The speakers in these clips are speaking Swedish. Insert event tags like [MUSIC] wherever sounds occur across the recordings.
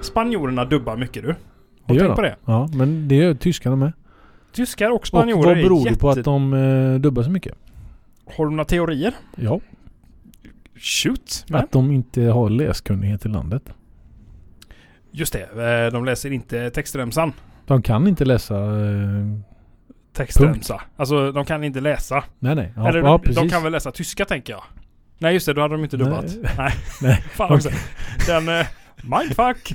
spanjorerna dubbar mycket du. Det Har du gör tänkt de. på det? Ja, men det gör tyskarna med. Tyskar och Och spanjorer vad beror är det på att de eh, dubbar så mycket? Har du några teorier? Ja, Shoot! att de inte har läskunnighet i landet. Just det, eh, de läser inte textremsan. De kan inte läsa... eh, Textremsa. Alltså de kan inte läsa. Nej, nej. Ja, Eller ja, de, precis. de kan väl läsa tyska tänker jag. Nej just det, då hade de inte dubbat. Nej. Nej. [LAUGHS] Nej. [LAUGHS] Fan också. Den... Eh, mindfuck!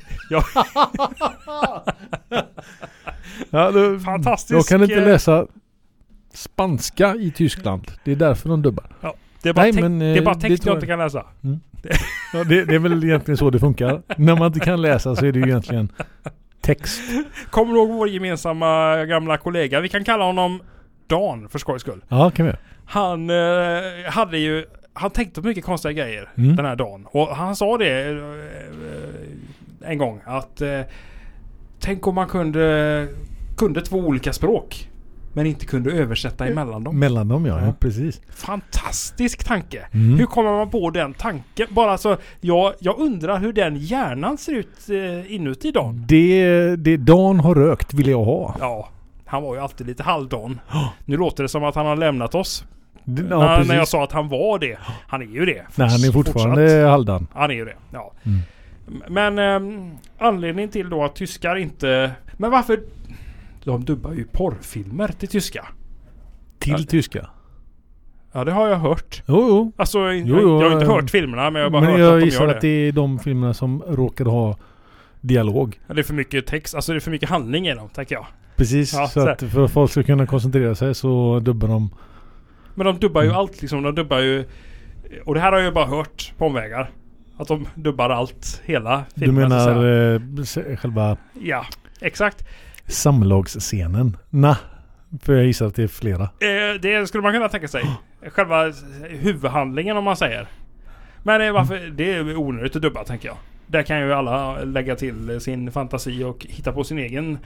Ja, du, Fantastisk, De kan inte eh, läsa spanska i Tyskland. Det är därför de dubbar. Det är bara, Nej, text- men, eh, det är bara det text tror jag jag. inte kan läsa. Ja, det, det är väl egentligen så det funkar. När man inte kan läsa så är det ju egentligen text. Kommer du ihåg vår gemensamma gamla kollega? Vi kan kalla honom Dan för skojs skull. Ja, kan vi göra. Han eh, hade ju... Han tänkte på mycket konstiga grejer Mm. den här dagen. Och han sa det eh, eh, en gång att... Eh, tänk om man kunde... Kunde två olika språk. Men inte kunde översätta emellan dem. Mellan dem ja, Ja. ja precis. Fantastisk tanke! Mm. Hur kommer man på den tanken? Bara så... Jag, jag undrar hur den hjärnan ser ut eh, inuti Dan. Det, det Dan har rökt vill jag ha. Ja, han var ju alltid lite [GASPS] halvdan. Nu låter det som att han har lämnat oss. Det- Ja, när, precis. när jag sa att han var det. Han är ju det. Nej, han är fortfarande Fortsatt. Haldan. Han är ju det, ja. Mm. Men ehm, anledningen till då att tyskar inte... Men varför... De dubbar ju porrfilmer till tyska. Till Ja. tyska. Ja, det har jag hört. Jo, jo. Alltså, Jo, jag, jag har jo, inte eh, hört filmerna, men jag har bara Men hört jag att de gissar gör det. att det är de filmerna som råkar ha dialog. Ja, Det är för mycket text, alltså det är för mycket handling i dem, tänker jag. Precis, Ja, så, så här. att för att folk ska kunna koncentrera sig så dubbar de. Men de dubbar ju Mm. allt liksom. De dubbar ju... Och det här har jag ju bara hört på omvägar. Att de dubbar allt, hela Du filmen. så att menar säga. eh, se- själva Ja, exakt. samlagsscenen? Na, för jag gissar att det är flera. Eh, det skulle man kunna tänka sig. Själva s- huvudhandlingen om man säger. Men eh, varför? Mm. Det är onödigt att dubba tänker jag. Där kan ju alla lägga till eh, sin fantasi och hitta på sin egen, eh,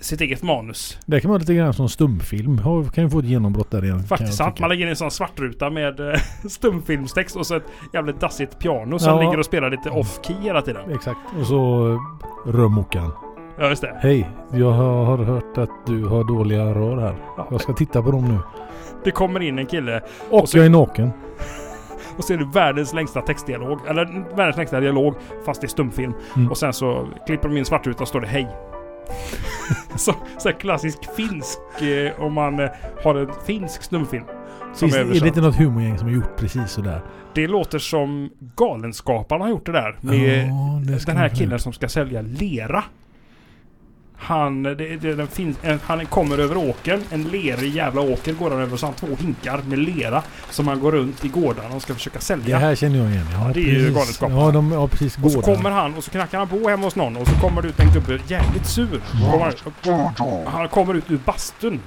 sitt eget manus. Det kan vara lite grann som stumfilm. Har- Kan ju få ett genombrott där igen. kan Faktiskt jag sant. tycka. Man lägger in en sån svartruta med eh, [LAUGHS] stumfilmstext och så ett jävligt dassigt piano som Ja. ligger och spelar lite off-key hela tiden. Exakt. Och så eh, rörmokaren. Ja, just det. Hej, jag har har hört att du har dåliga rör här. Ja. Jag ska titta på dem nu. Det kommer in en kille Och, Och så- jag är naken. och så är det världens längsta textdialog. Eller världens längsta dialog fast i stumfilm. Mm. Och sen så klipper de in svartrutan och står det hej. [LAUGHS] så, så här klassisk finsk eh, om man eh, har en finsk stumfilm. Som Finns, är är det översatt. inte något humorgäng som har gjort precis sådär? Det låter som Galenskaparna har gjort det där. Med Ja, det ska den här man- killen som ska sälja lera. Han, eh, det, det, den fin, en, han kommer över åkern, en lerig jävla åker går han över och så har han två hinkar med lera som han går runt i gårdarna och ska försöka Det sälja. här känner jag igen. Ja, det är ju precis. Galenskaparna. Ja, de, ja precis. Och så gården. kommer han och så knackar han på hemma hos någon och så kommer det ut en gubbe jävligt sur. Kommer han- Han kommer ut ur bastun.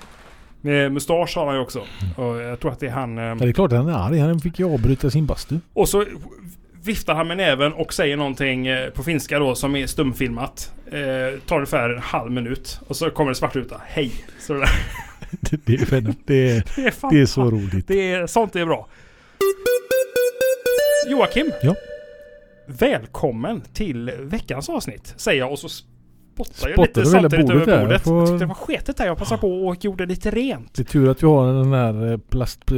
Med mustasch har han ju också. Och jag tror att det är han. eh, Ja, det är klart han är arg. Han fick ju avbryta [LAUGHS] sin bastu. Och så viftar han med näven och säger någonting eh, på finska då som är stumfilmat. Eh, tar ungefär en halv minut. Och så kommer det svartruta. Hej! Så det, där. [LAUGHS] Det, det, är, fan- det, är, det är fan, det är så roligt. Det är, sånt är bra. Joakim. Ja. Välkommen till veckans avsnitt säger jag och så spottar jag Spottar lite du saltet hela ut bordet över där? bordet. Jag får- Jag tyckte det var sketet där. Jag passade på och gjorde lite rent. Det är tur att vi har den här eh,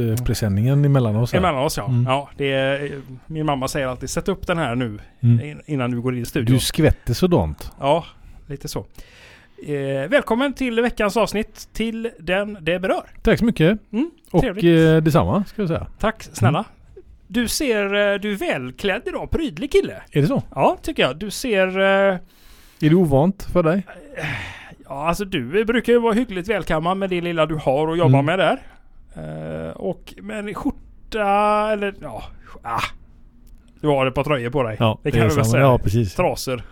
plastpresenningen emellan oss. här. Mm. Emellan oss ja. Mm. ja det är, eh, min mamma säger alltid sätt upp den här nu Mm. in- innan du går in i studion. Du skvätter sådant. Ja, lite så. Eh, välkommen till veckans avsnitt till den det berör. Tack så mycket. Mm, Och trevligt. eh, mm. detsamma ska jag säga. Tack snälla. Du ser, eh, du är välklädd idag. Prydlig kille. Är det så? Ja, tycker jag. Du ser... eh, Är det ovant för dig? Ja, alltså du brukar ju vara hyggligt välkammad med det lilla du har att jobba Mm. med där. Eh, och men skjorta eller ja... Ah, du har ett par tröjor på dig. det kan är vi väl samma. säga. Ja, precis. Trasor.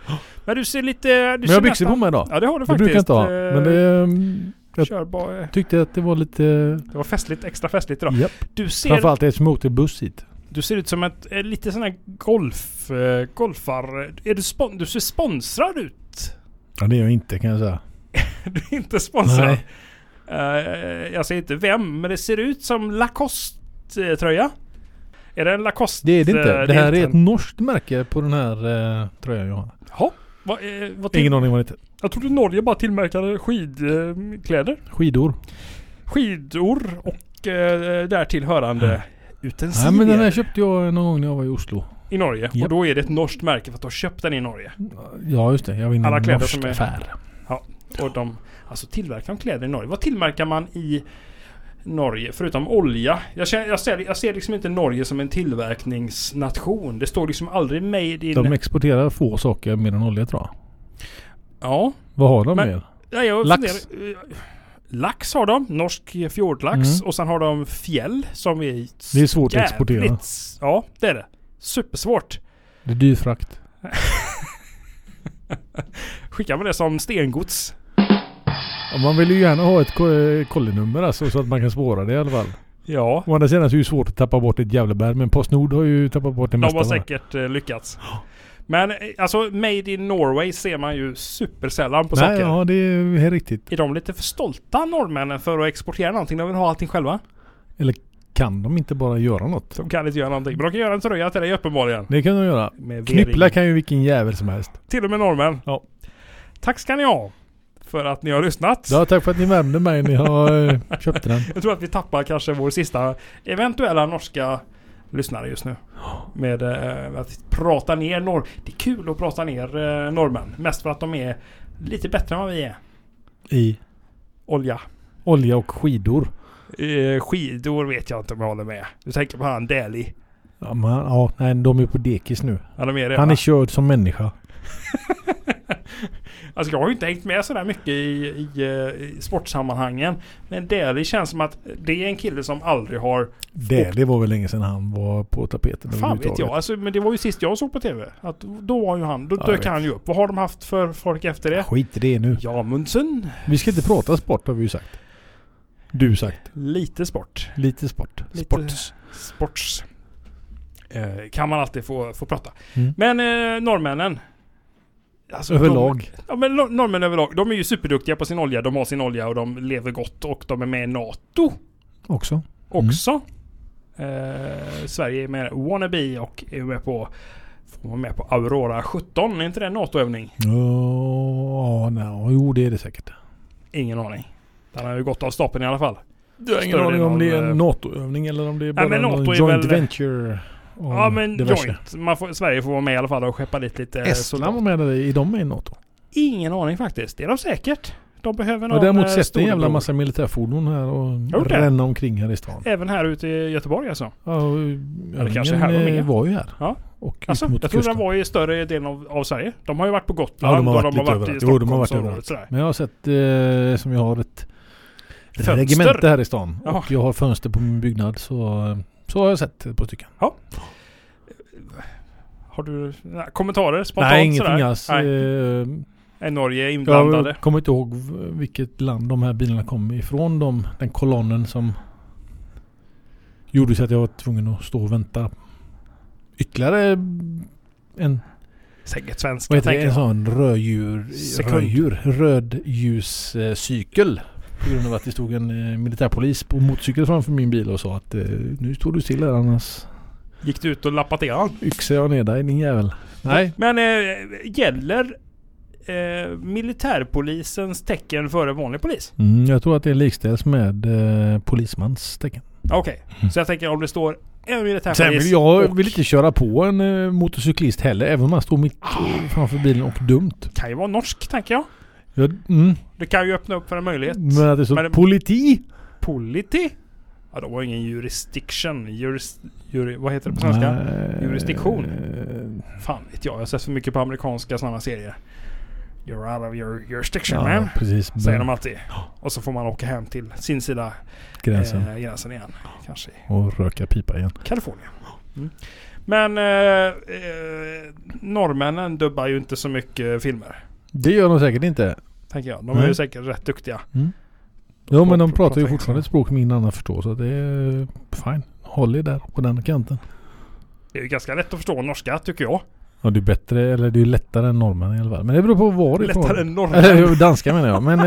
Men du ser lite... Du Men ser jag har byxor på mig idag. Ja, det har du Det faktiskt. brukar jag inte ha. Men det... mm, eh, jag Kör bara. tyckte att det var lite... Det var festligt, extra festligt idag. Japp. Du ser, Framförallt eftersom jag åkte buss hit. du ser ut som ett, eh, lite sån här golf, eh, golfar... Är du, spon, du ser sponsrad ut. Ja, det är jag inte kan jag säga. [LAUGHS] Du är inte sponsrad. Nej. Eh, jag säger inte vem, men det ser ut som Lacoste-tröja. Är det en Lacoste? Det är det inte. eh, det här är ett en- norskt märke på den här eh, tröjan jag har. Ja. Vad, eh, vad till, Ingen aning vad det heter. Jag trodde Norge bara tillverkade skidkläder. Skidor. Skidor och eh, därtill hörande utensilier Nej men den här köpte jag någon gång när jag var i Oslo. i Norge. Ja. Och då är det ett norskt märke för att de har köpt den i Norge. Ja just det, jag var inne i Alla en kläder norsk som är- affär. Och de, alltså tillverkar de kläder i Norge? Vad tillverkar man i Norge förutom olja? Jag, känner, jag, ser, jag ser liksom inte Norge som en tillverkningsnation. Det står liksom aldrig made in... De exporterar få saker mer än olja tror jag. ja. Vad har de Men- mer? Nej, jag Lax. lax. lax har de. Norsk fjordlax. Mm. Och sen har de fjäll som är... Det är svårt att jävligt- exportera. Ja, det är det. Supersvårt. Det är dyr frakt. Skickar man det som stengods. Ja, Man vill ju gärna ha ett ko- eh, kollinummer alltså så att man kan spåra det i alla fall. Ja. Å andra sidan så är det ju svårt att tappa bort ett Gävleberg men Postnord har ju tappat bort det De mesta. har va? säkert eh, lyckats. Men eh, alltså Made in Norway ser man ju supersällan på Nej, saker. ja det är helt riktigt. Är de lite för stolta norrmännen för att exportera någonting? De vill ha allting själva. Kan de inte bara göra något? De kan inte göra någonting. Men de kan göra en tröja till dig uppenbarligen. Det kan de göra. Med Knyppla V-ring. kan ju vilken jävel som helst. Till och med norrmän. Ja. Tack ska ni ha. För att ni har lyssnat. Ja, tack för att ni värmde mig när jag eh, köpte den. Jag tror att vi tappar kanske vår sista eventuella norska lyssnare just nu. Med eh, att prata ner norr. Det är kul att prata ner eh, norrmän. Mest för att de är lite bättre än vad vi är. I Olja. olja och skidor. Eh, skidor vet jag inte om jag håller med. Du tänker på han Deli. Ja, men, ja nej, de är på dekis nu. Han är med det, Han va? är körd som människa. Alltså jag har ju inte hängt med sådär mycket i, i, eh, i sportsammanhangen. Men Deli känns som att det är en kille som aldrig har... Det, det var väl länge sedan han var på tapeten Fan vet överhuvudtaget. jag. Alltså, men det var ju sist jag såg på TV. Att då var ju han, då Ja, jag dök vet. han ju upp. Vad har de haft för folk efter det? Skit i det nu. Jamundsen. Vi ska inte prata sport har vi ju sagt. Du sagt. Lite sport. Lite sport. Lite- Sports. Sports. Eh, kan man alltid få, få prata. Mm. Men eh, norrmännen. Alltså, Överlag. De, ja, men nor- norrmän överlag. De är ju superduktiga på sin olja. De har sin olja och de lever gott och de är med i NATO Också. också. Eh, Sverige är med i Wannabe och är med på Får man med på Aurora 17? Är inte det en NATO-övning? Ja, nej, jo det är det säkert. Ingen aning. Den har ju gått av stapeln i alla fall. Du har Större än någon, eh, NATO-övning eller om det är men NATO är joint väl- venture. och Ja men diverse. joint. Man får, Sverige får vara med i alla fall och skeppa dit lite eh, Estland var med där i, de är i NATO. Ingen aning faktiskt. Det är de säkert. De behöver någon och däremot eh, sätter en jävla storebror. massa militärfordon här och gjort det? ränna omkring här i stan. Även här ute i Göteborg alltså? Ja, och kanske övningen här var eh, med. var ju här. Ja. Och ut alltså mot jag trodde kusten. den var i större delen av, av Sverige. De har ju varit på Gotland Ja, de har varit och de har varit i lite överallt. Jo, de har varit Stockholmsområdet. sådär. Men jag har sett eh, som jag har ett Fönster. regemente här i stan. Ja. Och jag har fönster på min byggnad. Så, eh, så har jag sett ett par stycken. Har du nej, kommentarer spontant Nej, ingenting sådär? alls. Nej. Eh, Är Norge inblandade? jag kommer inte ihåg v- vilket land de här bilarna kom ifrån. De, den kolonnen som gjorde så att jag var tvungen att stå och vänta ytterligare en, Säkert svenska vad heter det, tänker jag. en sån rödljur, Sekund. rödljur, rödljuscykel. eh, På grund av att det stod en eh, militärpolis på motorcykel framför min bil och sa att eh, nu står du still här annars Gick du ut och lappade till han? yxar jag ner dig din jävel. Nej, Men eh, gäller eh, militärpolisens tecken före vanlig polis? mm, jag tror att det likställs med eh, polismans tecken. Okej, så jag tänker om det står en militärpolis Mm. Sen vill jag och- vill inte köra på en eh, motorcyklist heller, även om han står mitt Ah. eh, framför bilen och dumt. kan ju vara norsk tänker jag. Jag, mm, Det kan ju öppna upp för en möjlighet. men att det Men står det- politi? Politi? Ja, de har ingen jurisdiction. Juris, juri, vad heter det på svenska? Nej, Jurisdiktion. eh, Fan vet jag. Jag har sett för mycket på amerikanska sådana serier. You're out of your jurisdiction Ja, man. precis. Säger de alltid. Och så får man åka hem till sin sida Gränsen. eh, gränsen igen. Kanske i Och röka pipa igen. Kalifornien. Mm. Men eh, eh, norrmännen dubbar ju inte så mycket filmer. Det gör de säkert inte. Tänker jag. De är Nej. ju säkert rätt duktiga. Mm. får- Jo men de får- pratar ju pratar fortfarande ett språk som ingen annan förstår så det är eh, fine. Håll er där på den kanten. Det är ju ganska lätt att förstå norska tycker jag. Ja det är bättre, eller det är lättare än norrmän i alla fall. Men det beror på varifrån. Lättare än norrmän. Eller [LAUGHS] danska menar jag. Men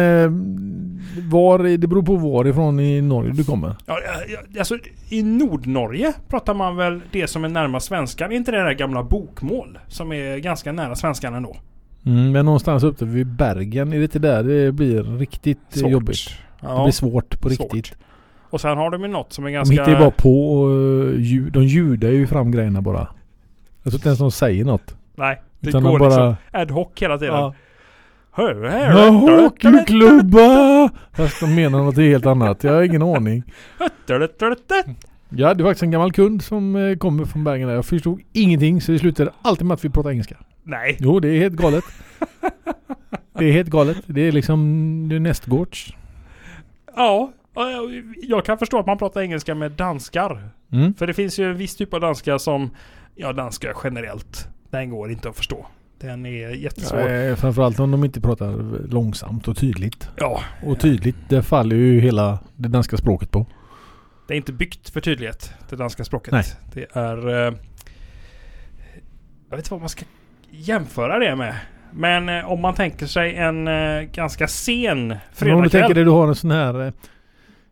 eh, var, det beror på varifrån i Norge du kommer. Ja, ja, ja, alltså, I Nordnorge pratar man väl det som är närmast svenskan. Är inte det där gamla bokmål som är ganska nära svenskan ändå? Mm, men någonstans uppe vid Bergen, är det inte där det blir riktigt eh, Svårt. jobbigt? Det Ja. blir svårt på Svårt. riktigt. Och sen har de ju något som är De ganska... hittar ju bara på och eh, ljud, de ljudar ju fram grejerna bara. Jag tror inte ens de säger något. Nej, det Utan går de bara... liksom ad hoc hela tiden. Ja. Hör, här, Ja, där, där, hockeyklubba! Fast de menar något helt annat. Jag har ingen aning. där, där, där, där. Jag hade faktiskt en gammal kund som eh, kommer från Bergen där. Jag förstod ingenting så det slutade alltid med att vi pratade engelska. Nej, Jo, det är helt galet. Det är helt galet. Det är liksom det är nästgårds. ja. ja, ja, Jag kan förstå att man pratar engelska med danskar. Mm. För det finns ju en viss typ av danska som... Ja, danska generellt. Den går inte att förstå. Den är jättesvår. Ja, Eh, Framförallt om de inte pratar långsamt och tydligt. ja Och tydligt, det faller ju hela det danska språket på. det är inte byggt för tydlighet, det danska språket. Nej. Det är... eh, Jag vet inte vad man ska jämföra det med. Men eh, om man tänker sig en eh, ganska sen Men om du tänker fredagkväll. dig du har en sån här... eh,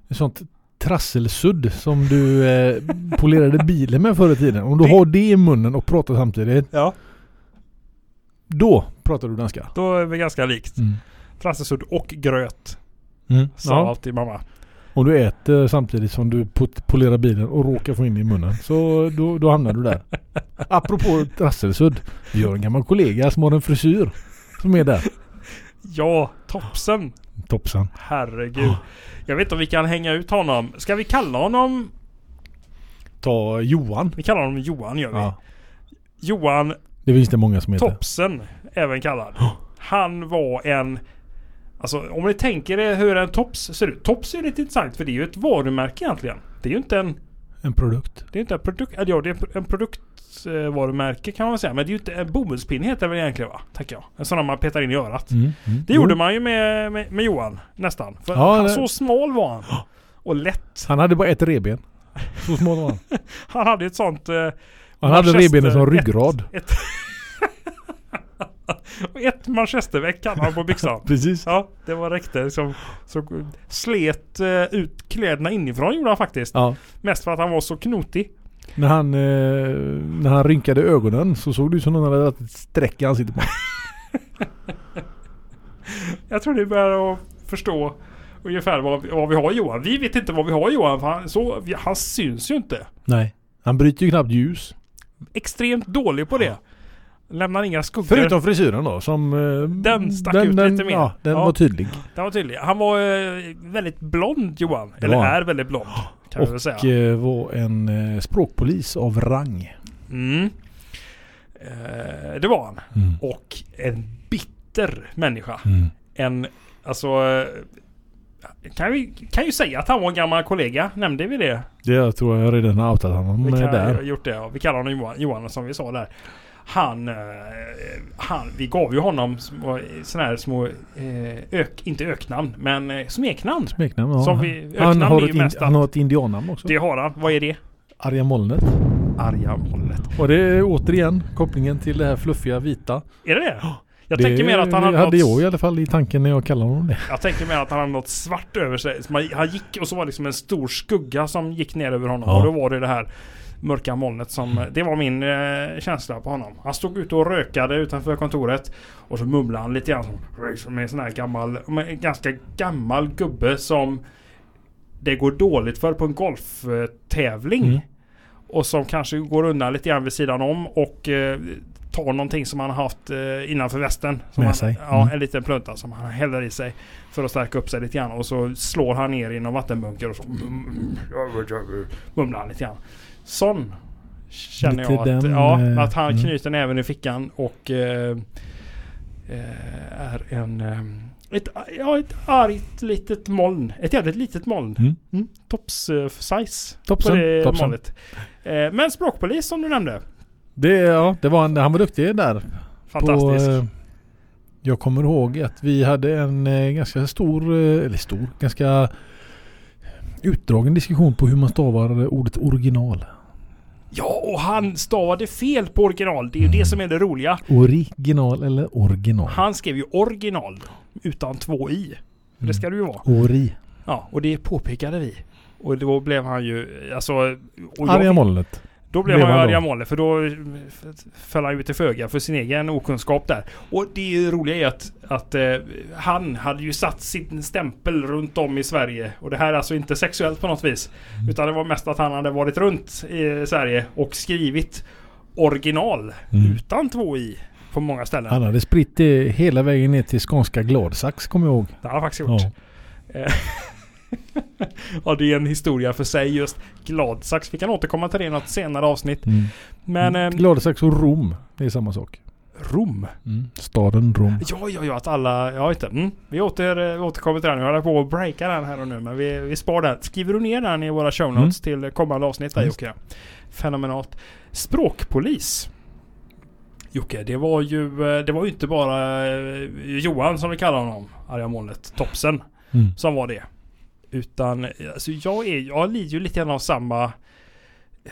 En sånt trasselsudd som du eh, polerade bilen med förr i tiden. Om du Det- har det i munnen och pratar samtidigt. Ja. Då pratar du danska. Då är vi ganska likt. Mm. Trassesudd och gröt, Mm. sa Ja. alltid mamma. Om du äter samtidigt som du pot- polerar bilen och råkar få in det i munnen. Så då, då hamnar du där. Apropå trasselsudd. Vi har en gammal kollega som har en frisyr. Som är där. Ja, topsen. Toppsan. Herregud. Ah. Jag vet inte om vi kan hänga ut honom. Ska vi kalla honom... Ta Johan. Vi kallar honom Johan gör vi. Ja. Johan Det finns det många som heter. Topsen, även kallad. Han var en... Alltså om ni tänker er hur en tops ser ut. Tops är ju lite intressant för det är ju ett varumärke egentligen. Det är ju inte en... En produkt. Det är inte en produkt... eller Ja, det är en pro- en produktvarumärke kan man väl säga. Men det är ju inte... En bomullspinne heter det väl egentligen va? Tänker jag. En sån där man petar in i örat. Mm. Mm. Det gjorde man ju med, med, med Johan nästan. För Ja, han, det- Så smal var han. Och lätt. Han hade bara ett revben. Så små var han. [LAUGHS] Han hade ju ett sånt... Eh, Han hade Manchester- revbenen som ett- ryggrad. Ett, [LAUGHS] Och ett manchesterveck hade han på byxan. Precis. Ja, det var räckte. Som, som slet eh, ut kläderna inifrån gjorde han faktiskt. Ja. Mest för att han var så knotig. När han, eh, när han rynkade ögonen så såg det ut som någon hade dragit ett streck i ansiktet på honom. Jag tror ni börjar att förstå ungefär vad, vi- vad vi har Johan. Vi vet inte vad vi har Johan för han, så, vi- han syns ju inte. Nej. Han bryter ju knappt ljus. Extremt dålig på det. Lämnar inga skuggor. Förutom frisyren då som... eh, Den stack ut lite mer. Ja, den Ja. var tydlig. Det var tydligt. Han var eh, väldigt blond Johan. Det Eller var han. är väldigt blond. Kan vi väl säga. Och eh, var en eh, språkpolis av rang. Mm. Eh, det var han. Och en bitter människa. Mm. En, alltså... eh, Kan, vi, kan ju säga att han var en gammal kollega. Nämnde vi det? Det jag tror jag redan har outat honom Vi eh, kan, där. Gjort det, ja. Vi kallar honom Johan, Johan som vi sa där. Han, eh, han, vi gav ju honom små, sådana här små, eh, ök, inte öknamn, men eh, smeknamn. Smeknamn, ja. Som vi- han, öknamn är har ju ett in, mest han har ett indiannamn också. Det har han. Vad är det? Arga molnet. Arga molnet. Och det är återigen kopplingen till det här fluffiga vita. Är det det? Jag det tänker mer att han hade, hade jag något, i alla fall i tanken när jag kallade honom det. jag tänker mer att han hade något svart över sig. Så man, han gick och så var det liksom en stor skugga som gick ner över honom. Ja. Mm. Och då var det det här mörka molnet som... Det var min eh, känsla på honom. Han stod ute och rökade utanför kontoret. Och så mumlade han lite grann som, som en sån här gammal... med En ganska gammal gubbe som det går dåligt för på en golftävling. Mm. Och som kanske går undan lite grann vid sidan om och eh, tar någonting som han har haft eh, innanför västen. Som Med han, sig. Ja, Mm. en liten plunta som han häller i sig. För att stärka upp sig lite grann. Och så slår han ner i någon vattenbunker och så mm, mumlar han lite grann. Sån känner Lite jag att, den, ja, eh, att han mm. knyter näven i fickan och eh, eh, är en... Eh, ett, ja, ett argt litet moln. Ett jävligt litet moln. Mm. Mm. Tops eh, size på Topsen. det Topsen. molnet. Eh, men språkpolis som du nämnde. Det, ja, det var en, han var duktig där. På, Fantastisk. eh, jag kommer ihåg att vi hade en eh, ganska stor, eh, eller stor, ganska utdragen diskussion på hur man stavar eh, ordet original. ja, och han stavade fel på original. Det är ju Mm. det som är det roliga. Original eller original? Han skrev ju original utan två i. Mm. Det ska det ju vara. Ori. Ja, och det påpekade vi. Och då blev han ju, alltså... Och Arga jag, molnet. Då blev han ju Blev han arg då? Amale för då f- föll han ju till föga för sin egen okunskap där. Och det är ju roliga är att, att eh, han hade ju satt sin stämpel runt om i Sverige. Och det här är alltså inte sexuellt på något vis. Mm. Utan det var mest att han hade varit runt i Sverige och skrivit original Mm. utan två i på många ställen. Han hade spritt det hela vägen ner till skånska Gladsax kommer jag ihåg. Det har han faktiskt gjort. Ja. Ja, det är en historia för sig just. Gladsax. Vi kan återkomma till det i något senare avsnitt. Mm. Men eh, Gladsax och Rom, det är samma sak. Rom. Mm. Staden Rom. Ja, ja, ja, att alla... Jag inte. Mm. Vi åter, eh, återkommer till den. Jag håller på att breaka den här och nu, men vi, vi spar den. Skriver du ner den i våra show Mm. notes till kommande avsnitt där, Just. Jocke? Fenomenalt. Språkpolis. Jocke, det var ju, eh, det var ju inte bara eh, Johan som vi kallar honom, arga molnet, topsen, Mm. som var det. Utan, eh, alltså jag är, jag lider ju lite grann av samma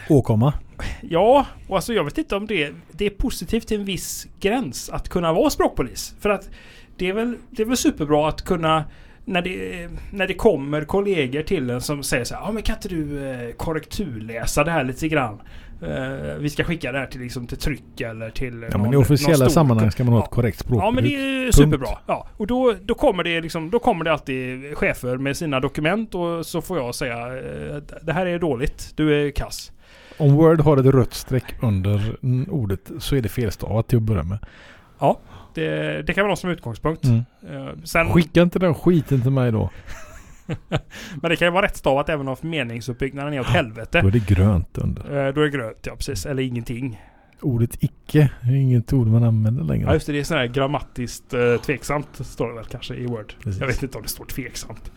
Åkomma. Ja, och alltså jag vet inte om det, det är positivt till en viss gräns att kunna vara språkpolis. För att det är väl, det är väl superbra att kunna när det, när det kommer kollegor till en som säger så här, ja men kan inte du eh, korrekturläsa det här lite grann? Eh, vi ska skicka det här till, liksom, till tryck eller till Ja, men I officiella sammanhang ska man ha ett korrekt språk. Ja men det är ju Punkt. superbra. Ja, och då, då, kommer det liksom, då kommer det alltid chefer med sina dokument och så får jag säga eh, det här är dåligt, du är kass. Om Word har ett rött streck under mm, ordet så är det felstavat till att börja med. Det, det kan man ha som utgångspunkt. Mm. Eh, Sen, Skicka inte den skiten till mig då. men det kan ju vara rättstavat även om meningsuppbyggnaden är Ah, åt helvete. Då är det grönt under. Eh, Då är det grönt, ja precis. Eller ingenting. Ordet icke är inget ord man använder längre. Ja just det, det är sådär grammatiskt eh, tveksamt. Står det väl kanske i Word. Precis. Jag vet inte om det står tveksamt.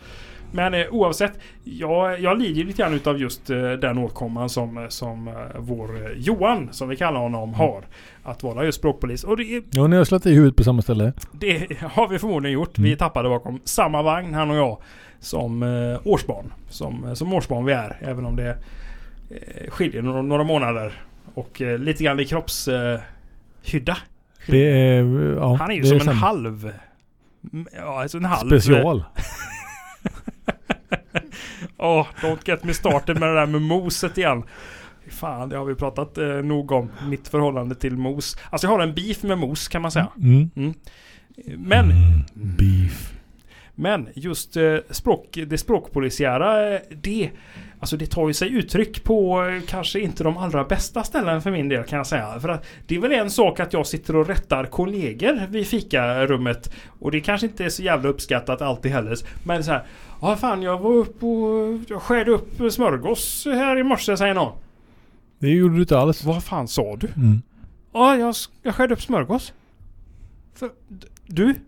Men eh, oavsett, jag, jag lider ju lite grann utav just eh, den åkomman som, eh, som eh, vår eh, Johan, som vi kallar honom, har. Att vara just språkpolis. Och det, är- Ja, ni har slagit i huvudet på samma ställe. det har vi förmodligen gjort. Vi Mm. tappade bakom samma vagn, han och jag, som eh, årsbarn. Som, eh, som årsbarn vi är, även om det eh, skiljer några, några månader. Och eh, lite grann i kroppshydda. Eh, hydda. Det är... Ja, han är ju det som en samma. halv... Mm, Ja, alltså en halv... Special. Åh, don't get me started med det där med moset igen. Fan, det har vi pratat eh, nog om. Mitt förhållande till mos. Alltså jag har en beef med mos kan man säga. Mm. Men Mm. Beef. Men just eh, språk, det språkpolisiära, eh, det, alltså det tar ju sig uttryck på eh, kanske inte de allra bästa ställen för min del kan jag säga. För att det är väl en sak att jag sitter och rättar kollegor vid fikarummet och det kanske inte är så jävla uppskattat alltid heller. Men så här, ja fan jag var upp och jag skärde upp smörgås här i morse säger någon. Det gjorde du inte alls. Vad fan sa du? Mm. Ja, jag, s- jag skärde upp smörgås. För, d- du? G-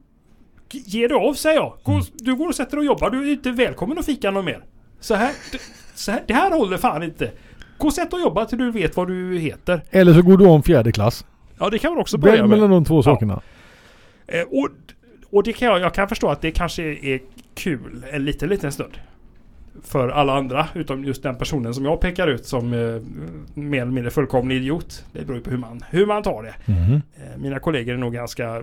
Ge dig av säger jag. Gå, Du går och sätter dig och jobbar. Du är inte välkommen att fika någon mer. Så här, d- så här, det här håller fan inte. Gå och sätt och jobba till du vet vad du heter. Eller så går du om fjärde klass. Ja, det kan man också börja Välj med. mellan de två sakerna. Eh, och och det kan jag, jag kan förstå att det kanske är kul en liten, liten stund. För alla andra, utom just den personen som jag pekar ut som eh, mer eller mindre fullkomlig idiot. Det beror ju på hur man, hur man tar det. Mhm. Eh, Mina kollegor är nog ganska, eh,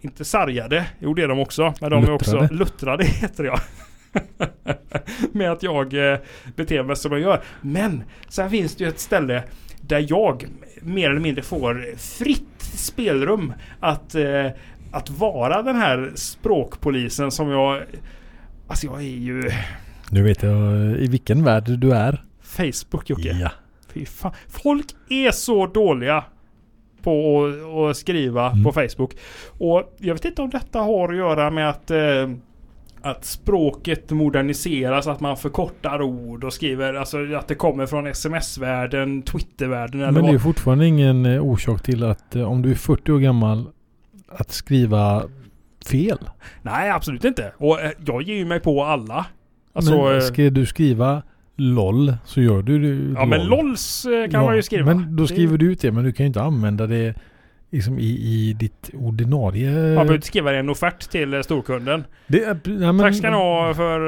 inte sargade, jo det är de också, men de är också Luttrade. luttrade [LAUGHS] heter jag. Med att jag eh, beter mig som jag gör. Men sen finns det ju ett ställe där jag mer eller mindre får fritt spelrum att, eh, att vara den här språkpolisen som jag... Alltså jag är ju Nu vet jag eh, i vilken värld du är. Facebook Jocke. Ja. Fy fan. Folk är så dåliga på att, att skriva Mm. på Facebook. Och jag vet inte om detta har att göra med att, eh, att språket moderniseras, att man förkortar ord och skriver, alltså att det kommer från sms-världen, Twitter-världen eller Men det är vad. ju fortfarande ingen eh, orsak till att eh, om du är 40 år gammal att skriva fel. Nej, absolut inte. Och eh, jag ger ju mig på alla. Alltså, eh, men ska du skriva LOL så gör du det- ja men LOLs eh, kan Ja, man ju skriva. Men då Det- skriver du ut det. Men du kan ju inte använda det liksom i, i ditt ordinarie... Man behöver inte skriva en offert till eh, storkunden. det, är- nej, men, Tack ska ni ha för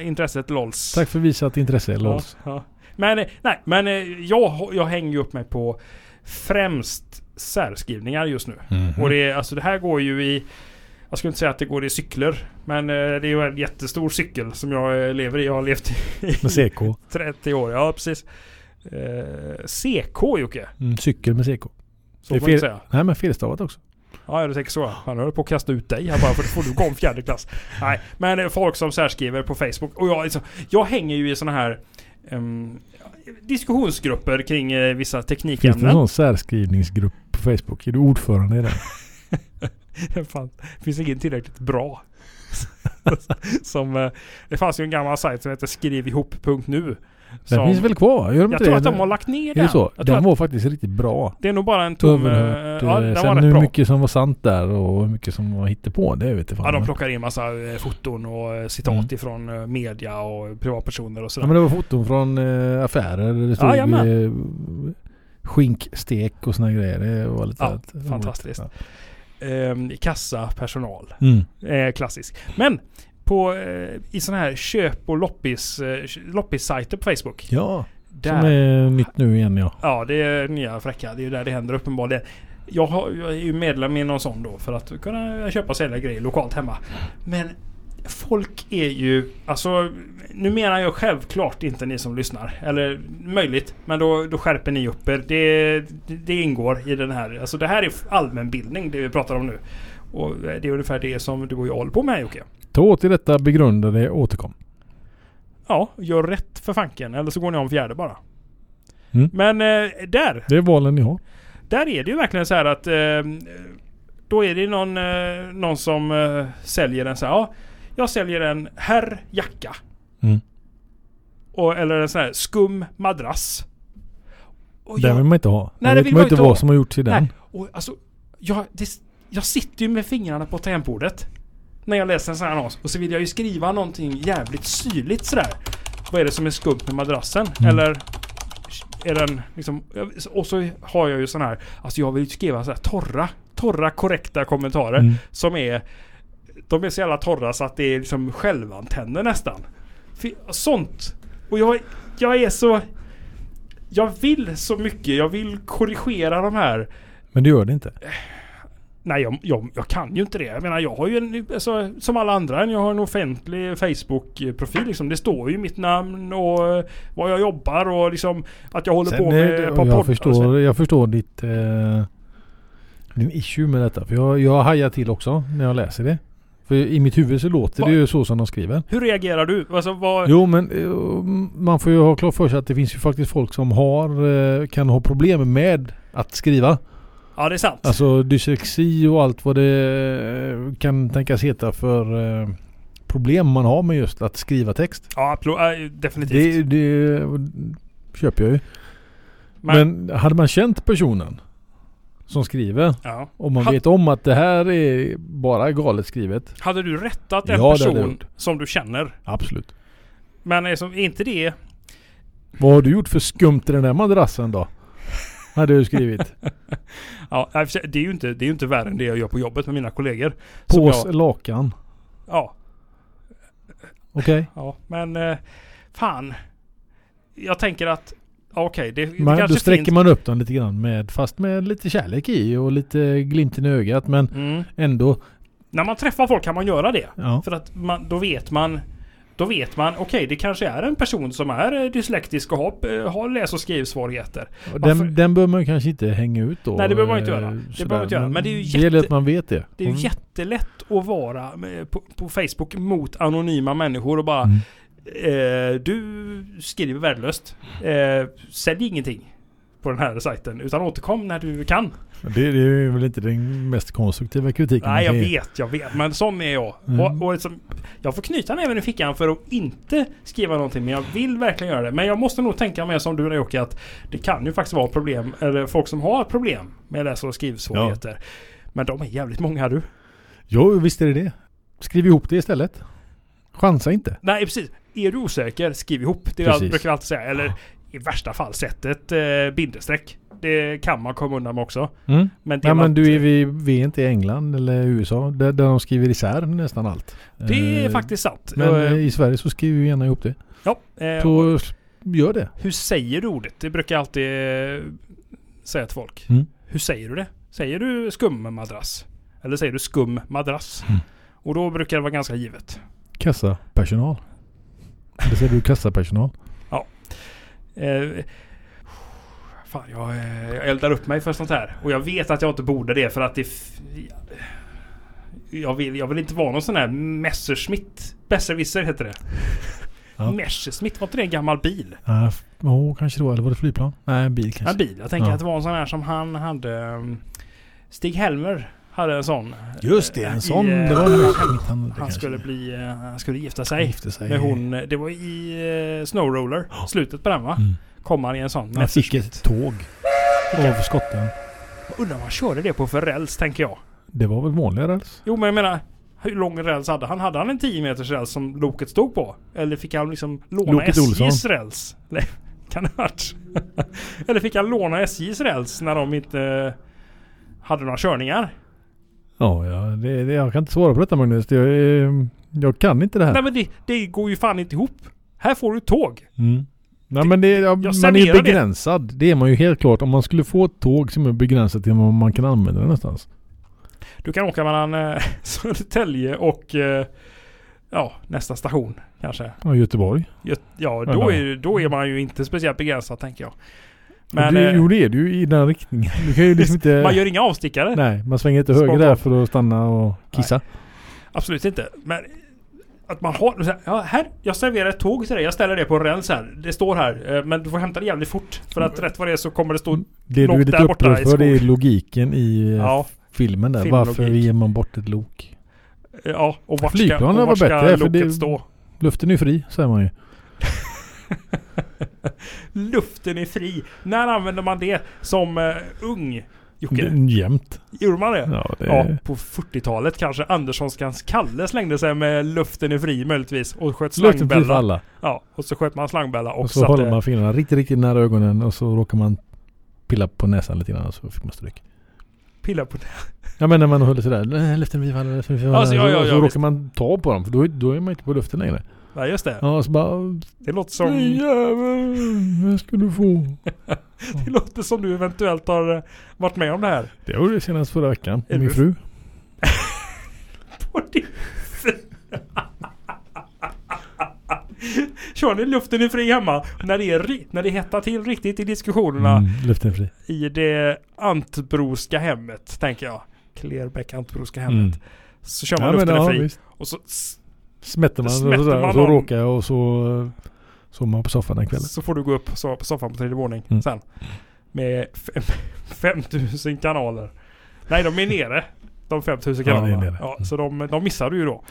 eh, intresset LOLs. Tack för visat intresse LOLs. Ja, ja. Men, eh, nej, men eh, jag, jag hänger ju upp mig på främst särskrivningar just nu. Mhm. Och det, är- alltså det här går ju i... Jag skulle inte säga att det går i cykler. Men eh, det är ju en [LAUGHS] jättestor cykel som jag eh, lever i. Jag har levt i Med CK. 30 år. Ja, precis. Eh, CK Jocke. Mm, cykel med CK. Så Det är får man inte fel- säga. Nej men felstavat också. Ja, ja, du tänker så. Han höll på att kasta ut dig här bara för då får du gå om fjärde klass. Nej, men eh, folk som särskriver på Facebook. Och jag, liksom, jag hänger ju i sådana här ehm, diskussionsgrupper kring eh, vissa Finns det teknikämnen. en sån särskrivningsgrupp på Facebook? Är du ordförande [LAUGHS] i den? Fan, det finns ingen tillräckligt bra. [LAUGHS] som, eh, det fanns ju en gammal sajt som hette skrivihop.nu. Den Som, finns väl kvar? Gör de jag inte tror det? att de har lagt ner Är den. det så? Jag tror Den att, var faktiskt riktigt bra. det är nog bara en tom... eh, Överhört. ja, eh, den var Sen rätt hur bra. mycket som var sant där och hur mycket som var hittepå, det vet jag fan. Ja, de men- plockar in massa eh, foton och eh, citat Mm. ifrån eh, media och privatpersoner och ja, sådär. men det var foton från eh, affärer. Det stod Jajamän. eh, skinkstek och såna grejer. Det var lite Ja, roligt. fantastiskt. Mm, Ja. eh, kassapersonal. Mm. Eh, klassisk. Men på, eh, i sådana här köp och loppis, eh, loppissajter på Facebook. ja där, som är nytt nu igen ja. Ja, det är nya fräcka. Det är ju där det händer uppenbarligen. Jag, har, jag är ju medlem i någon sån då för att kunna köpa och sälja grejer lokalt hemma. Men folk är ju... Alltså, nu menar jag självklart inte ni som lyssnar. Eller möjligt, men då, då skärper ni upp er. Det, det, det ingår i den här... Alltså det här är allmänbildning, det vi pratar om nu. Och det är ungefär det som du och jag håller på med Jocke. Ta åt er detta, begrunda det, återkom. Ja, gör rätt för fanken. Eller så går ni om fjärde bara. Mm. Men eh, där, Det är valen ni har. där är det ju verkligen så här att eh, då är det någon, eh, någon som eh, säljer en så här. Ja, jag säljer en herr jacka. Mm. Och, eller en sån här skum madrass. Och Den jag- vill man inte ha. Nej, Nej, det vet vill man man inte inte ha. vad som har gjorts i den. Nej, och alltså, jag, det, jag sitter ju med fingrarna på tangentbordet. När jag läser en sån här annons. Och så vill jag ju skriva någonting jävligt syrligt sådär. Vad är det som är skumt med madrassen? Mm. Eller är den liksom... Och så har jag ju sån här... Alltså jag vill ju skriva så här torra, torra korrekta kommentarer. Mm. Som är... De är så jävla torra så att det är liksom självantänder nästan. Fy- Sånt. Och jag, jag är så... Jag vill så mycket. Jag vill korrigera de här Men det gör det inte. Nej, jag, jag, jag kan ju inte det. Jag menar, jag har ju en, alltså, som alla andra, jag har en offentlig Facebook-profil liksom. Det står ju mitt namn och eh, vad jag jobbar och liksom att jag håller Sen på Alltså, är med det- ett och par jag, poddar. och så. förstår, jag förstår ditt, eh, din issue med detta. För jag, jag hajar till också när jag läser det. För i mitt huvud så låter Va? det ju så som de skriver. Hur reagerar du? Alltså, vad, Jo men eh, man får ju ha klart för sig att det finns ju faktiskt folk som har, eh, kan ha problem med att skriva. ja, det är sant. Alltså dyslexi och allt vad det eh, kan tänkas heta för eh, problem man har med just att skriva text. ja, plo- äh, definitivt. Det, det köper jag ju. Men- Men, hade man känt personen som skriver ja. och man Ha- vet om att det här är bara galet skrivet. Hade du rättat en Ja, det hade jag person gjort. som du känner? Absolut. Men liksom, är inte det... Vad har du gjort för skumt i den där madrassen då? Hade [LAUGHS] du skrivit. Ja, i och för sig, det är ju inte, det är ju inte värre än det jag gör på jobbet med mina kollegor. Som Pås, jag, lakan. ja, Okej. Ja, men eh, fan. Jag tänker att, ja, okej, det, det Man, kanske då sträcker finns... man upp den lite grann med, fast med lite kärlek i och lite glimten i ögat. Men Mm. ändå. När man träffar folk kan man göra det. Ja. För att man, då vet man, då vet man, okej, det kanske är en person som är eh, dyslektisk och har, eh, har läs och skrivsvårigheter. Och Varför- Den, den bör man kanske inte hänga ut då. Nej, det behöver man inte eh, göra. Det behöver sådär. man inte göra. Men det är ju jätte- gäller att man vet det. Det är ju Mm. jättelätt att vara eh, på, på Facebook mot anonyma människor och bara, Mm. eh, du skriver värdelöst. Eh, sälj ingenting på den här sajten, utan återkom när du kan. Det, det är väl inte den mest konstruktiva kritiken. man Nej, jag kan ge. vet, jag vet. Men sån är jag. Mm. Och, och liksom, jag får knyta näven i fickan för att inte skriva någonting. Men jag vill verkligen göra det. Men jag måste nog tänka mer som du Jocke att det kan ju faktiskt vara problem, eller folk som har problem med läs och skrivsvårigheter. Men de är jävligt många du. Jo, visst är det det. Skriv ihop det istället. Chansa inte. Nej, precis. Är du osäker, skriv ihop. Det är Precis. jag brukar alltid säga. Eller i värsta fall, sätt ett eh, bindestreck. Det kan man komma undan med också. Mm. Men det Nej, man- men du är, vi, vi är inte i England eller USA där, där de skriver isär nästan allt. Det är Eh, faktiskt sant. Men Eh, eh, i Sverige så skriver vi gärna ihop det. ja, eh, Så gör det. Hur säger du ordet? Det brukar jag alltid eh, säga till folk. Mm. Hur säger du det? Säger du skummadrass? Eller säger du skum madrass? Mm. Och då brukar det vara ganska givet. Kassapersonal. Eller säger du kassapersonal? Eh, Fan, jag, eh, jag eldar upp mig för sånt här. Och jag vet att jag inte borde det för att det... f- Jag vill, jag vill inte vara någon sån här Messerschmitt. Besserwisser heter det. Ja. Messerschmitt, var inte det en gammal bil? Ja, f- oh, kanske då. Eller var det flygplan? Nej, en bil kanske. En bil. Jag tänker Ja. att det var en sån här som han hade... ehm, Stig-Helmer hade en sån. Just det, Eh, i, en sån. eh, det var han- en han, Han skulle bli... eh, Han skulle gifta sig. Gifte sig. Med hon... eh, Det var i eh, Snow Roller. Slutet på den va? Mm. Kom han i en sån. Han fick ett tåg. Av skotten. Undrar vad han körde det på för räls tänker jag. Det var väl vanliga räls? Jo men jag menar, hur lång räls hade han? Hade han en 10 meters räls som loket stod på? Eller fick han liksom låna Loket SJs Olsson. räls? Nej, [LAUGHS] kan det ha varit? [LAUGHS] Eller fick han låna SJs räls när de inte eh, hade några körningar? Ja, ja det, det, jag kan inte svara på detta Magnus. Det, jag, ehm, jag kan inte det [LAUGHS] här. Nej men det, det går ju fan inte ihop. Här får du ett tåg. Mm. Nej men det, ja, man är ju serverar det. begränsad. Det. är man ju helt klart. Om man skulle få ett tåg som är begränsat till vad man kan använda det någonstans. Du kan åka mellan eh, [LAUGHS] Södertälje och eh, ja, nästa station kanske. Ja, Göteborg. Gö- Ja, Ja. då är, ju- då är man ju inte speciellt begränsad tänker jag. Men Men, det, eh, jo det är det ju i den riktningen. Du kan ju liksom inte... [LAUGHS] man gör inga avstickare. nej, man svänger inte Spar höger på. där för att stanna och kissa. Absolut inte. Men att man har... så här, Ja, här, jag serverar ett tåg till dig. Jag ställer det på en räls här. Det står här. eh, Men du får hämta det jävligt fort. För Mm. att rätt vad det är så kommer det stå... Det du Lok är lite där borta upprörd i för det är skog. logiken i eh, Ja. filmen där. Filmlogik. Varför ger man bort ett lok? eh, ja och vart ska, och Flygplanen var vart ska bättre, för loket det- stå? Luften är ju fri säger man ju. Luften är fri. När använder man det som eh, ung? Jocke? Okay. Jämt. Gjorde man det? Ja, det Ja, på 40-talet kanske Anderssonskans Kalle slängde sig med luften är fri möjligtvis och sköt Luften fri för slangbella. alla. Ja, och så sköt man slangbella och, Och så satte... håller man fingrarna riktigt, riktigt nära ögonen och så råkar man pilla på näsan lite grann och så fick man stryk. Pilla på Ja men när man håller sådär. "Nej, Luften vi faller, luften vi faller. Alltså, ja, ja, så ja, så visst. råkar man ta på dem för då, är- då är man inte på luften längre. Nej, just det. Ja och så bara. Det låter som... Nej jävel, vad ska du få? [LAUGHS] Det låter som du eventuellt har eh, varit med om det här. [LAUGHS] Det gjorde jag senast förra veckan. Är Min du- fru. Och det- Kör ni luften i fri hemma? När det, är, ri- när det hettar till riktigt i diskussionerna Mm, luften fri. i det antbroska hemmet, tänker jag. Klerbäck antbroska hemmet. Mm. Så kör man Ja men luften i ja fri. visst. Och så, s- Smätter man, Smätter och, sådär, man och så någon- råkar jag och så sover man på soffan den kvällen. så får du gå upp så, på soffan på tredje våning Mm. sen. Med fem- [LAUGHS] 5000 kanaler. Nej, de är nere. De 5000 Ja, det är kanalerna. nere. Mm. Ja, så de, de missar du ju då.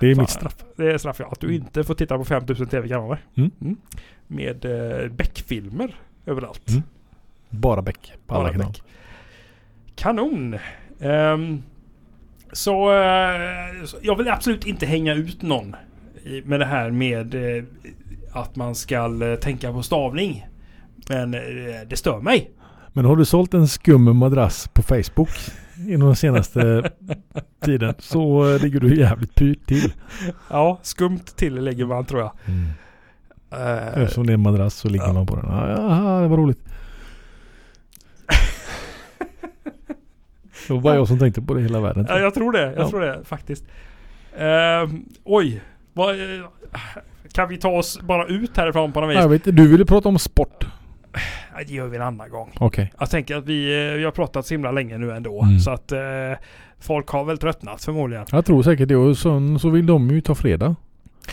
Det är Fan. mitt straff. Det är straff ja. Att du inte får titta på 5000 tv-kanaler. Mm. Med eh, Beck-filmer överallt. Mm. Bara bäck på alla Bara kanaler. Beck. Kanon! Ehm, så eh, så jag vill absolut inte hänga ut någon i- med det här med eh, att man ska eh, tänka på stavning. Men eh, det stör mig. Men har du sålt en skum madrass på Facebook inom [LAUGHS] den senaste tiden så eh, ligger du jävligt pyrt till. Ja, skumt till lägger man tror jag. Eh, Eftersom det är en madrass så ligger Mm. Ja. man på den. Ja, ja, det var roligt. Det var bara jag som tänkte på det i hela världen. Ja, jag tror det. Jag Ja. tror det faktiskt. Ehm, oj. Vad, eh, kan vi ta oss bara ut härifrån på något vis? jag vet, inte, du ville prata om sport. Nej, Det gör vi en annan gång. Okej. Jag tänker att vi, eh, vi har pratat så himla länge nu ändå. Mm. Så att eh, folk har väl tröttnat förmodligen. Jag tror säkert det. Och sen så vill de ju ta fredag.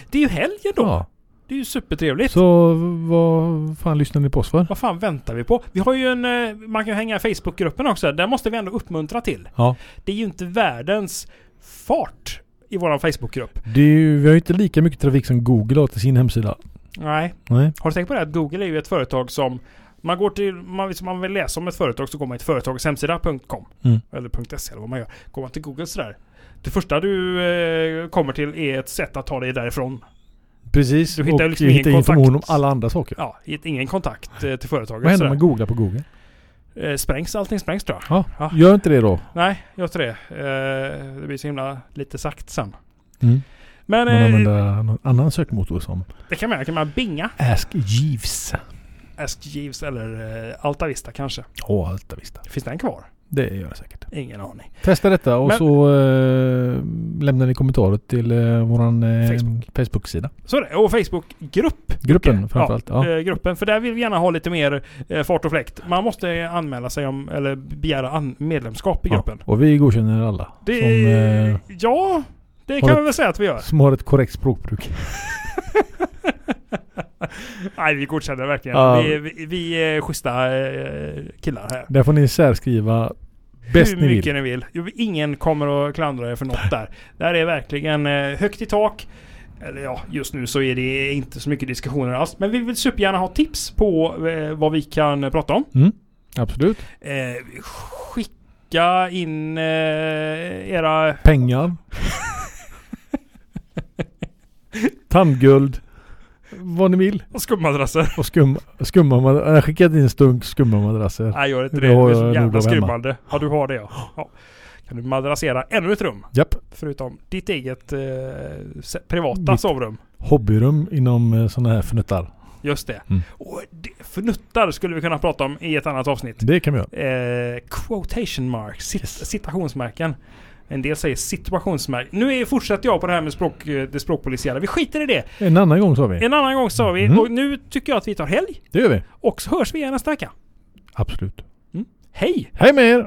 Det är ju helgen då. Ja. Det är ju supertrevligt. Så vad fan lyssnar ni på oss för? Vad fan väntar vi på? Vi har ju en... eh, Man kan ju hänga i Facebookgruppen också. Där måste vi ändå uppmuntra till. Ja. Det är ju inte världens fart i våran Facebookgrupp. Det är ju, vi har ju inte lika mycket trafik som Google har till sin hemsida. Nej. Nej. Har du tänkt på det att Google är ju ett företag som man går till, man, om man vill läsa om ett företag så går man till företagets hemsida, .com Mm. eller .se eller vad man gör. Går man till Google sådär. Det första du eh, kommer till är ett sätt att ta dig därifrån. Precis. Du hittar ju och liksom ingen hittar kontakt. information om alla andra saker. Ja, hit- ingen kontakt eh, till företaget. Vad händer om sådär. man googlar på Google? eh, sprängs, allting sprängs tror jag. Ja. Ja. Gör inte det då. Mm. Nej, jag tror det. Eh, det blir så himla lite sagt sen. Mm. Men Man eh, använder någon annan sökmotor som det kan man göra. Kan man binga? Ask Jeeves. Ask Jeeves eller eh, Altavista kanske. Åh, Altavista. Finns den kvar? Det gör det säkert. Ingen aning. Testa detta och Men- så eh, lämnar ni kommentarer till eh, våran eh, Facebook. Facebook-sida. Så är det. Och Facebookgrupp. Gruppen framförallt. Ja. eh, gruppen. För där vill vi gärna ha lite mer eh, fart och fläkt. Man måste anmäla sig om, eller begära an- medlemskap i eh, gruppen. Ja. Och vi godkänner alla Det, som, eh, ja, det har kan vi ett- väl säga att vi gör. [LAUGHS] som har ett korrekt språkbruk. Nej, vi godkänner verkligen. Ja. Vi, vi, vi är schyssta eh, killar här. Där får ni särskriva bäst Hur ni mycket vill. ni vill. Jo, Ingen kommer att klandra er för något där. Där är verkligen eh, högt i tak. Eller ja, just nu så är det inte så mycket diskussioner alls. Men vi vill supergärna ha tips på eh, vad vi kan prata om. Mm. Absolut. Eh, skicka in eh, era... Pengar. Tandguld. Vad ni vill. Skummadrasser. Och skum, skumma madrasser. Jag har skickat in stunk skumma madrasser. Nej, gör inte det. Det Det har är jag så nog jävla av hemma. skrymmande. Ja, du har det ja. ja. Kan du madrassera ännu ett rum? Japp. Förutom ditt eget eh, se- privata Mitt. sovrum. Hobbyrum inom sådana här fnuttar. Just det. Mm. Och det, förnuttar skulle vi kunna prata om i ett annat avsnitt. Det kan vi göra. Eh, quotation marks, cit- citationsmärken. En del säger situationsmärken. Nu är, fortsätter jag på det här med språk, eh, det språkpolisiära. Vi skiter i det. En annan gång sa vi. En annan gång sa vi. Mm. Och nu tycker jag att vi tar helg. Det gör vi. Och så hörs vi igen nästa vecka. Absolut. Hej! Hej med er!